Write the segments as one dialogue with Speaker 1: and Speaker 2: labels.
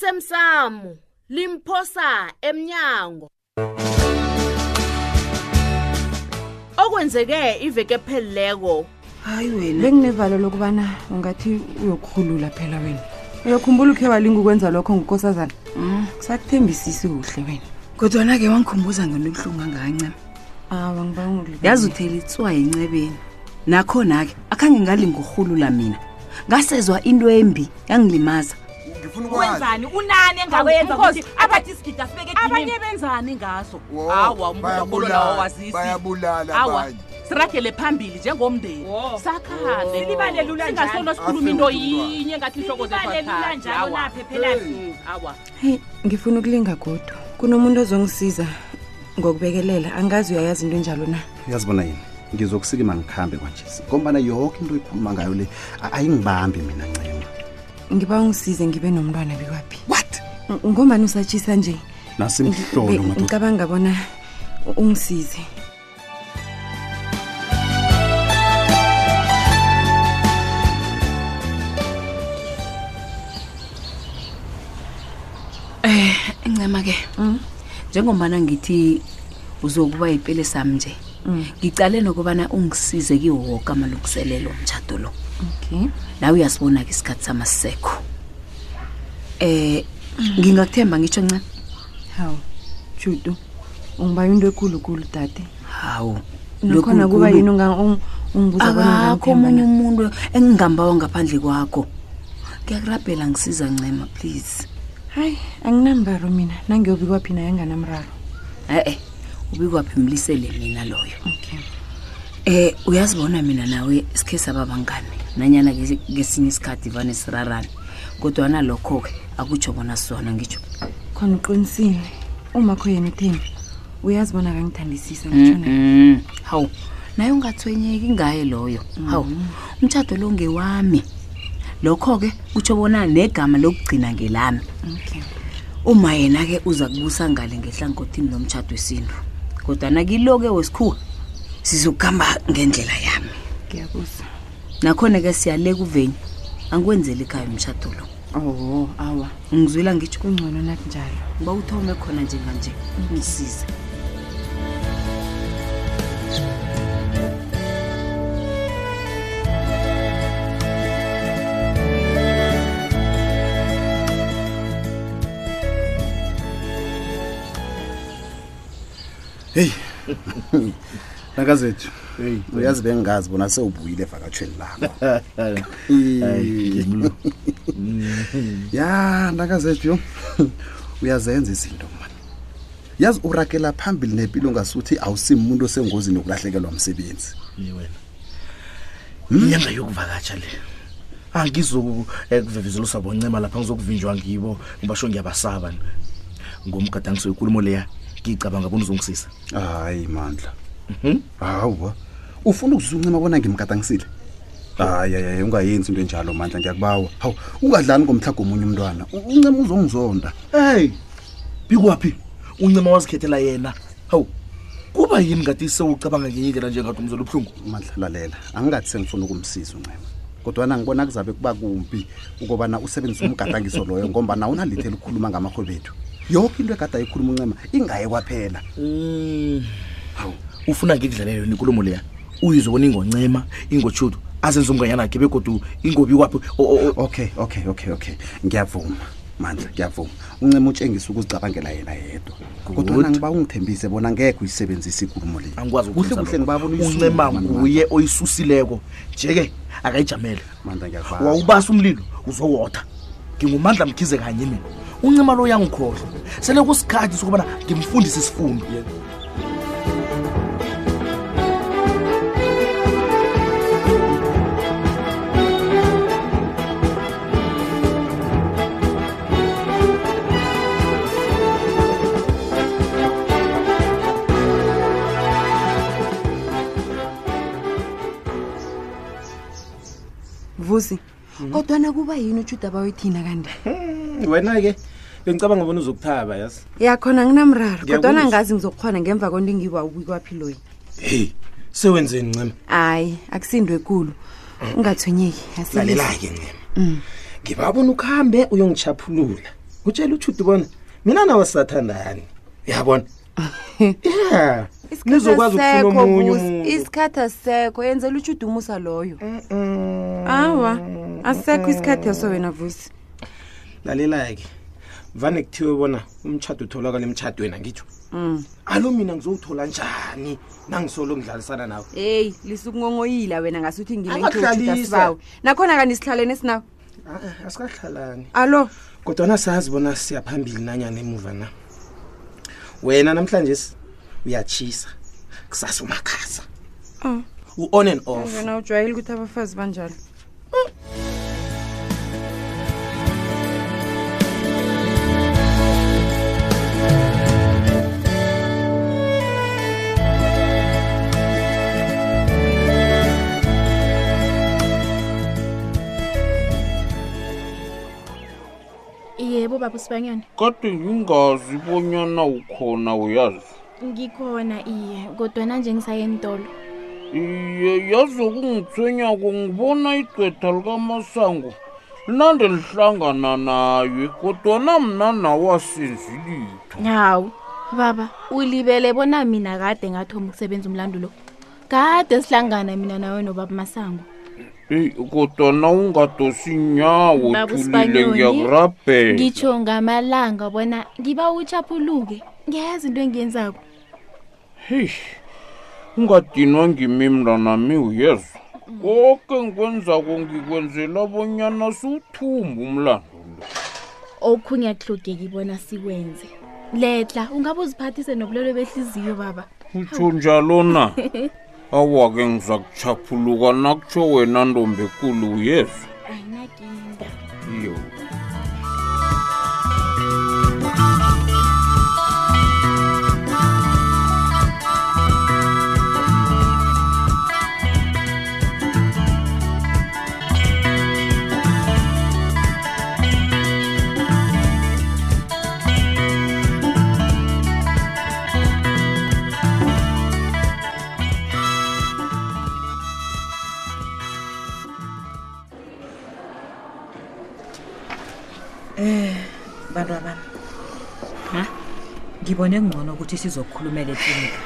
Speaker 1: osemsamo limphosa emnyango okwenzeke iveke phelileko
Speaker 2: hayi wena benginevalo lokubana ungathi uyokuhulula phela wena uyakhumbula ukhe walinga ukwenza lokho ngukosazana kusakuthembisisi kuhle wena
Speaker 3: kodwana-ke wangikhumbuza ngento ebuhlungu angancam
Speaker 2: awa ngiba
Speaker 3: yazi uthela itswa encebeni nakhona-ke akhange ngalingurhulula mina ngasezwa into embi yangilimaza
Speaker 4: ngifuna
Speaker 5: wenzani unani engawenza ukuthi abathi isigida sibeke
Speaker 6: abanye benzani ngaso
Speaker 4: Wo,
Speaker 6: awa umbulo
Speaker 4: bayabulala,
Speaker 6: lawo wazisi
Speaker 4: bayabulala
Speaker 6: awa
Speaker 4: abanye.
Speaker 6: siragele phambili njengomndeni
Speaker 5: Wo.
Speaker 6: sakhale
Speaker 5: Silibale lula
Speaker 6: singasono
Speaker 5: njalo.
Speaker 6: sikhuluma into
Speaker 4: Ase umuntu
Speaker 6: yinye ngathi ihloko
Speaker 5: lula njalo naphephelazi
Speaker 6: awa
Speaker 2: heyi ngifuna ukulinga kodwa kunomuntu ozongisiza ngokubekelela angazi uyayazi into enjalo na
Speaker 7: yazibona yini ngizokusikima ngikhambe kwanjesi ngombana yonke into ikhuluma ngayo le a- ayingibambi mina ncema
Speaker 2: ngiba ungisize ngibe nomntwana bikwaphi
Speaker 7: what
Speaker 2: Ng- ngombani usatshisa nje
Speaker 7: nasimhlolo
Speaker 2: Ngi-
Speaker 7: madoda
Speaker 2: ngicabanga bona u- ungisize
Speaker 3: encema-ke Eh,
Speaker 2: Mm.
Speaker 3: njengombana ngithi uzokuba yipele sami nje
Speaker 2: Mm.
Speaker 3: ngicale nokubana ungisize kiwo woke amalungiselelo mtshato lo
Speaker 2: okay
Speaker 3: la uyasibona-ke isikhathi samasisekho um
Speaker 2: Mm.
Speaker 3: ngingakuthemba ngitsho ncema
Speaker 2: hawu judu ungibayo into ekulukulu dade
Speaker 3: hawu
Speaker 2: nakhona kuba yini unga- ung- ungibuza bona
Speaker 3: akakho omunye
Speaker 2: ungangikhemba na?
Speaker 3: umuntu engingambawa ngaphandle kwakho ngiyakurabhela ngisiza ncema please
Speaker 2: hayi anginambaro mina nangiyobikwaphi naye anganamraro
Speaker 3: e-e ubikwaphi mlisele mina loyo
Speaker 2: okay
Speaker 3: um uyazibona mina nawe sikhe saba bangane nanyana ke- kesinye isikhathi vane sirarane kodwana lokho-ke akutsho bona sona ngitsho
Speaker 2: khona uqinisile umakho yena uthembi uyazibona kangithandisisa ngitshona
Speaker 3: Mm, hawu naye ungathwenyeki ngaye loyo hawu umtshato lo ngewami lokho-ke kutsho bona negama lokugcina ngelami
Speaker 2: okay
Speaker 3: uma yena-ke uza kubusa ngale ngehlangothini lomtshato wesintu kodwana kilo-ke wesikhuwa sizokuhamba ngendlela yami
Speaker 2: ngiyakuza
Speaker 3: nakhona-ke siyaleka uvenyu angikwenzeli ekhaya umtshato lo
Speaker 2: oho awa
Speaker 3: ngizwela ngitsho
Speaker 2: kungcono nakunjalo
Speaker 3: uba uthome khona njenganje ngisize
Speaker 7: heyi nakazethu uyazi bengingazi bona sewubuyile evakatshweni lakho Iye. ya nakazethu yo uyazenza izinto mani yazi urakela phambili nempilo ngasuthi awusimuntu osengozini yokulahlekelwa msebenzi Hmm?
Speaker 8: Ni wena inyanga yokuvakatsha le Ah, angizokuvevezeluswa boncema lapha ngizokuvinjwa ngibo ngibasho ngiyabasaba ni. ngomgadangiso wenkulumo leya ngicabanga bona uzongisiza
Speaker 7: hayi mandla hawa ufuna ukuzuncima bona ngimgadangisile hayi hayi hayi, ungayenzi into enjalo mandla ngiyakubawa hawu ungadlali ngomhlago omunye umntwana U- uncema uzongizonda
Speaker 8: hey bikwaphi uncema wazikhethela yena hawu kuba yini ngathi sewucabanga ngeyekela njengathi umzela ubuhlungu
Speaker 7: mandla lalela angingathi sengifuna ukumsiza uncema kodwana ngibona kuzabe kuba kumbi ukobana usebenzise umgadangiso loyo ngombana awunalithe likhuluma ngamarhwebo ethu yoke into egada ikhuluma uncema ingaye kwaphela
Speaker 8: ufuna ngidlalele yona inkulumo leya uyizwe bona ingoncema ingotshudu azenze umnganyana khe begodu ingobi kwaphi
Speaker 7: okay okay okay okay ngiyavuma mandla ngiyavuma uncema utshengisa ukuzicabangela yena yedwa kodwana ngiba ungithembise bona ngekho uyisebenzise ikulumo le
Speaker 8: angikwazi
Speaker 7: kuhle kuhle ngibabona
Speaker 8: uncema nguye oyisusileko nje-ke akayijamele
Speaker 7: mandla ngiyakwazi
Speaker 8: wawubasa umlilo uzowotha ngingumandla mkhize kanye mina uncima lo uyangikhohlwa sele kusikhathi sokubana ngimfundise isifundo
Speaker 2: vusi
Speaker 8: Mm-hmm.
Speaker 2: kodwana kuba yini ujuda abayithina kanti
Speaker 9: wena-ke bengicabanga bona uzokuthaba yazi
Speaker 2: yakhona nginamraro
Speaker 9: Ngiyakuzwa.
Speaker 2: kodwana ngazi ngizokukhona ngemva kwento engiwawubikwaphi loyi
Speaker 9: heyi sewenzeni ncema
Speaker 2: hayi akusinto ekulu ungathonyeki
Speaker 9: lalela-ke ncema ngibabona ukuhambe uyongichaphulula
Speaker 8: kutshela utshuti bona mina nawe sathandani uyabona ya nizokwazi ukufuna omunye umuntu
Speaker 2: isikhathi asisekho yenzela utshuda umusa loyo awa
Speaker 10: Mm,
Speaker 2: asisekho isikhathi yaso wena vusi
Speaker 8: lalela-ke vane kuthiwe bona umtshado utholakala emtshadweni angitsho
Speaker 2: Mm.
Speaker 8: alo mina ngizowuthola njani nangisolo ngidlalisana nawe
Speaker 2: eyi lisukungongoyila wena ngasuthi
Speaker 8: Angakudlalisa.
Speaker 2: ngileasibawu nakhona kani sihlalene sinawo
Speaker 8: Ah, ah, asikahlalani
Speaker 2: allo
Speaker 8: kodwana sazi bona siyaphambili nanyana emuva na wena namhlanje uyatshisa kusasa umakhasa
Speaker 2: Ah.
Speaker 8: Mm. u-on and off
Speaker 2: wena ujwayele ukuthi abafazi banjalo
Speaker 4: yebo baba usibanyana
Speaker 11: kade ngingazi bonyana ukhona uyazi
Speaker 4: ngikhona iye kodwana nje ngisaye entolo
Speaker 11: iye yazi okungithwenyako ngibona igqeda likamasango linande lihlangana naye kodwana mna nawe asenzi litho
Speaker 4: hawu baba ulibele bona mina kade ngathoma ukusebenza umlando lo kade sihlangana mina nawe nobaba masango
Speaker 11: eyi kodwana ungadosi nyawo
Speaker 4: Baba
Speaker 11: thulile
Speaker 4: uSibanyoni,
Speaker 11: ngiyakurabhela
Speaker 4: ngitsho ngamalanga bona ngiba uchaphuluke ngeza into engiyenzako
Speaker 11: heyi ungadinwa ngimi mntanami uyezwa koke ngikwenzako ngikwenzela bonyana siwuthumbe umlando lo
Speaker 4: okhunye akuhlogeki bona sikwenze letla ungabe uziphathise nobulwelwe behliziyo baba
Speaker 11: utsho njalo na awake ngiza kuchaphuluka nakutsho wena ntombekulu uyezwa
Speaker 4: ayinakinda
Speaker 11: iyo
Speaker 3: bantu abami ngibone kungcono ukuthi sizokhulumela eklinika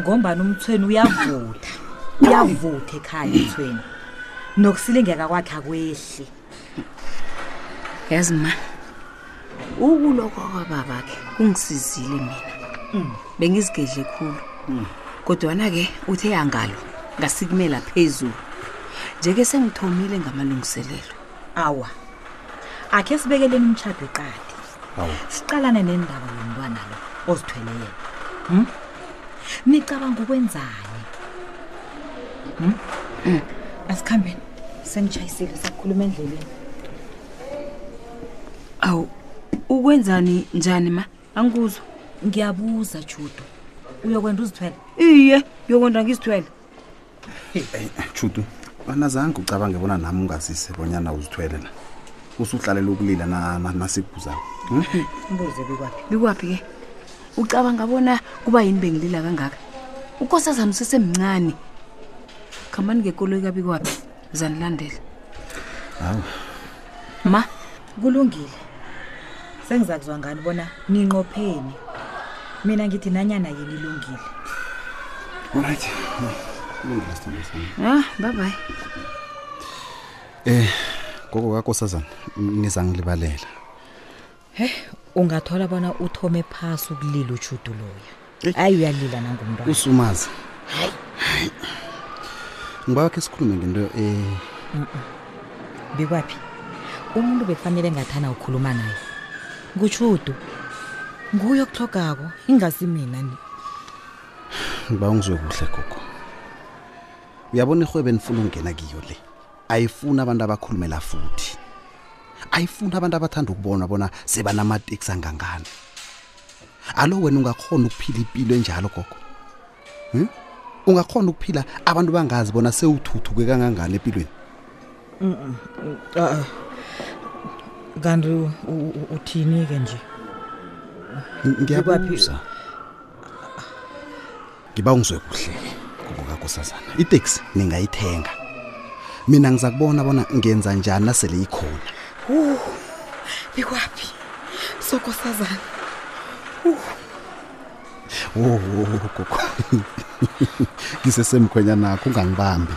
Speaker 3: ngombani umthweni uyavutha uyavutha ekhaya umthweni nokusilingeka kwakhe akwehli
Speaker 12: yazi ma ukulokwa kwababakhe kungisizile mina
Speaker 3: Mm.
Speaker 12: bengizigedle khulu kodwana-ke uthe angalo ngasikumela phezulu njeke sengithomile ngamalungiselelo
Speaker 3: awa akhe sibekeleni umtshado eqadi siqalane nendaba yomntwana lo ozithwele yena Hmm? nicabanga ukwenzani Hmm? asikhambeni sengitshayisile sakhuluma endleleni
Speaker 12: awu ukwenzani njani ma angikuzwa
Speaker 3: ngiyabuza judo uyokwenda uzithwele
Speaker 12: iye yokwenda ngizithwele
Speaker 7: Eh, chutu banazange ucabange bona nami ungazise bonyana uzithwele na usuhlalela ukulila na- na- nasikubuzako hmm?
Speaker 3: mbuze bikwaphi
Speaker 12: bikwaphi-ke ucabanga bona kuba yini bengilila kangaka ukosazana usesemncane khambani ngekoloyi kabikwaphi zanilandela
Speaker 7: Hawu.
Speaker 12: ma
Speaker 3: kulungile sengiza kuzwa ngani bona ninqopheni mina ngithi nanyana yini ilungile
Speaker 7: Alright. Kulungile sithando sami.
Speaker 12: ah babayi
Speaker 7: Eh, gogo kakosazana nizangilibalela.
Speaker 3: ungathola bona uthome phasi ukulila ujudu loya hayi uyalila nangumntwana
Speaker 7: Usumazi. Ngibawa ke sikhulume ngento eh
Speaker 3: bikwaphi umuntu bekufanele ngathana ukhuluma naye ngutshudu nguye okuhlogako ingasi mina ni
Speaker 7: ngiba ungizwe kuhle gogo. Uyabona ihwebe enifuna ukungena kiyo le. Ayifuna abantu abakhulumela futhi. Ayifuna abantu abathanda ukubona bona sebanamateksi angangani. Alo wena ungakhona ukuphila impilo enjalo gogo. Hm? Ungakhona ukuphila abantu bangazi bona sewuthuthuke kangangani empilweni.
Speaker 3: kanti uthini-ke nje
Speaker 7: ngiyabuza ngiba ungizwe kuhle ngokakosazana iteksi ningayithenga mina ngiza kubona bona ngenza njani nasele ikhona
Speaker 3: bikwaphi
Speaker 10: sokosazana
Speaker 7: Oh, wogogo ngisesemkhwenyanakho ungangibambi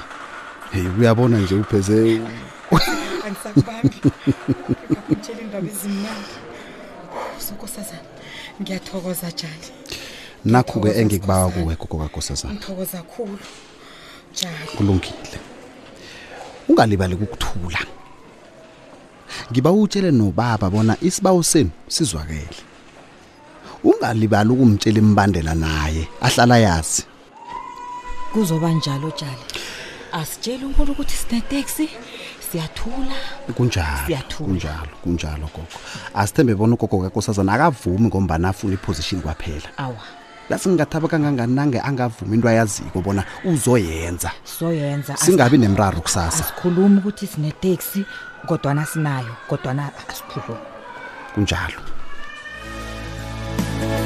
Speaker 7: heyi uyabona nje upheze
Speaker 10: angisakubambi ngitshela iindaba ezimnandi sokosazana ngiyathokoza jali
Speaker 7: nakho-ke engikubawa kuwe gogo kakosazana
Speaker 10: ngithokoza khulu jali
Speaker 7: kulungile ungalibali ukuthula ngiba utshele nobaba bona isibawo senu sizwakele ungalibali ukumtshela imbandela naye ahlala yazi
Speaker 13: kuzoba njalo jali asitsheli unkulu ukuthi sineteksi siyathula
Speaker 7: kunjalo
Speaker 13: Siyathula.
Speaker 7: kunjalo kunjalo gogo asithembe bona ugogo kakosazana akavumi ngombana afuna iposition kwaphela
Speaker 13: awa
Speaker 7: lasi ngingathaba kangangani nange angavumi into ayaziko bona uzoyenza
Speaker 13: soyenza
Speaker 7: singabi nemraro kusasa
Speaker 13: asikhulumi ukuthi sineteksi kodwana sinayo kodwana asikhulumi
Speaker 7: kunjalo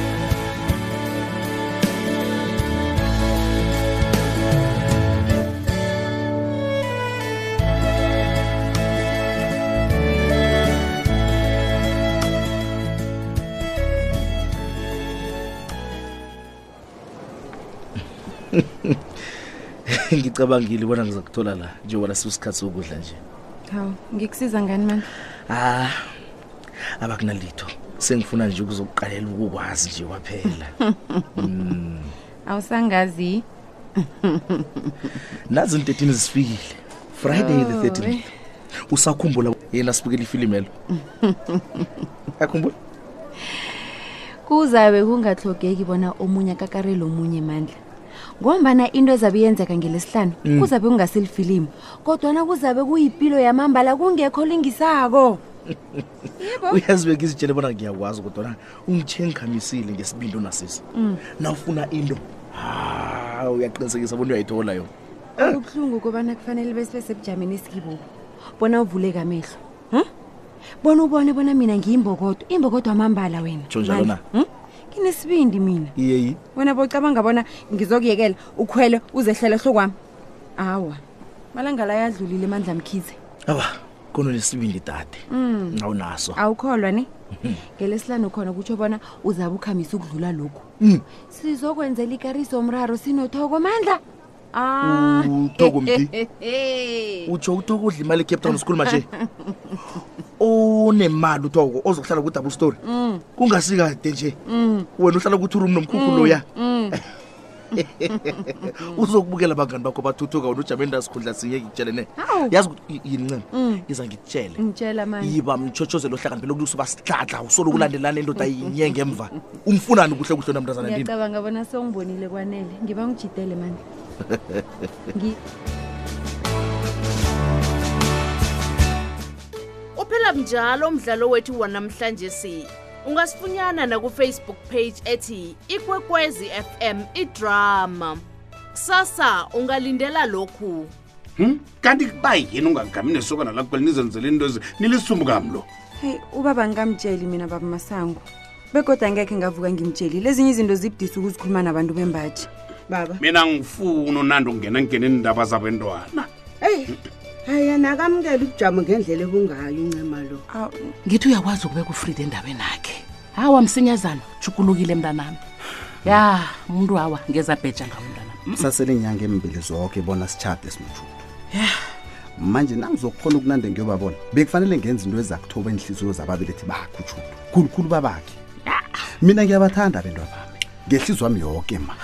Speaker 8: ngicabangile ubona ngizakuthola la njengoba sisikhathi sokudla nje
Speaker 2: hawu ngikusiza ngani mani
Speaker 8: ah abakunalitho sengifuna nje ukuzokuqalela ukukwazi nje kwaphela
Speaker 2: awusangazi
Speaker 8: nazi intethini zifikile friday the 13 usakhumbula yena sibukela ifilimu elo akhumbula
Speaker 4: kuzabe kungatlogeki bona omunye kakarelo omunye mandla ngombana into ezabe iyenzeka ngelesihlanu
Speaker 8: Mm.
Speaker 4: mm. kuzabe kungaselifilimu kodwana kuzabe kuyipilo yamambala kungekho lingisako
Speaker 8: uyazibeka izitshele bona ngiyakwazi kodwana ungitshe ngikhamisile ngesibindo nasisi
Speaker 2: Mm.
Speaker 8: nawufuna into ha uyaqinisekisa bona uyayithola yona
Speaker 2: okuhlungu kobana kufanele besibe sebujameni esikibobo bona uvuleka amehlo hm? bona ubone bona mina ngiyimbokodo imbokodo wamambala wena
Speaker 8: Tsho njalo
Speaker 2: Mandla, hm? nginesibindi mina
Speaker 8: iyeyi
Speaker 2: wena bocabanga bona ngizokuyekela ukhwele uzehlele hlokwami awa malanga la yadlulile mandla mkhize
Speaker 8: aba khona nesibindi dade
Speaker 2: Mm.
Speaker 8: awunaso
Speaker 2: awukholwa ne ngelesihlanu khona kutsho bona uzabe ukhamisa ukudlula lokhu
Speaker 8: Mm.
Speaker 2: sizokwenzela ikariso omraro sinothoko mandla Ah.
Speaker 8: Uthoko mti.
Speaker 2: Eh.
Speaker 8: utsho uthi ukudla imali ecape town sikhuluma nje onemali uthoko ozokuhlala kudouble story
Speaker 2: Mm.
Speaker 8: kungasikade nje
Speaker 2: Mm.
Speaker 8: wena uhlala kuthi room nomkhukhu
Speaker 2: Mm,
Speaker 8: loya
Speaker 2: mm.
Speaker 8: uzokubukela abangani bakho bathuthuka wena ujame ndasikhundla sinye ngikutshelene
Speaker 2: Hawu.
Speaker 8: yazi ukuthi i- yini ncema
Speaker 2: Mm.
Speaker 8: iza ngikutshele
Speaker 2: ngitshela manje
Speaker 8: yiba mtshotshozelo ohlakaniphela okulokuthi uba sihladla usolokulandelana indoda yinye ngemva umfunani kuhle kuhle namntazana ndini
Speaker 2: ngiyacabanga bona sewungibonile kwanele ngiba ngijidele manje Ngi-
Speaker 1: uphela mnjalo umdlalo wethu wanamhlanje si ungasifunyana nakufacebook page ethi ikwekwezi fm idrama kusasa ungalindela lokhu
Speaker 14: Hmm? kanti kuba yini ungagami nesokana lakuphela nizenzele into ezi nilisumbu kam lo
Speaker 2: heyi ubaba ngikamtsheli mina baba masango begoda angekhe ngavuka ngimtshelile ezinye izinto zibudisa ukuzikhuluma nabantu bembaji baba
Speaker 14: mina ngifuna unandi ukungena ngene indaba zabentwana
Speaker 15: eyi hayi anakamkela ubujamo ngendlela ebungayo incema lo
Speaker 6: ngithi uyakwazi ukubeka ufrida endaweni akhe hawa msinyazana jukulukile mntanami ya umuntu hawa ngeza bheja ngawo mntanami
Speaker 7: sasele inyanga embili zonke bona sitshade simujudu manje nangizokukhona ukunande ngiyobabona bekufanele ngenza into ezakuthoba inhliziyo zababelethi bakhe ujudu khulukhulu babakhe mina ngiyabathanda abentwa bami ngehlizwami yonke ma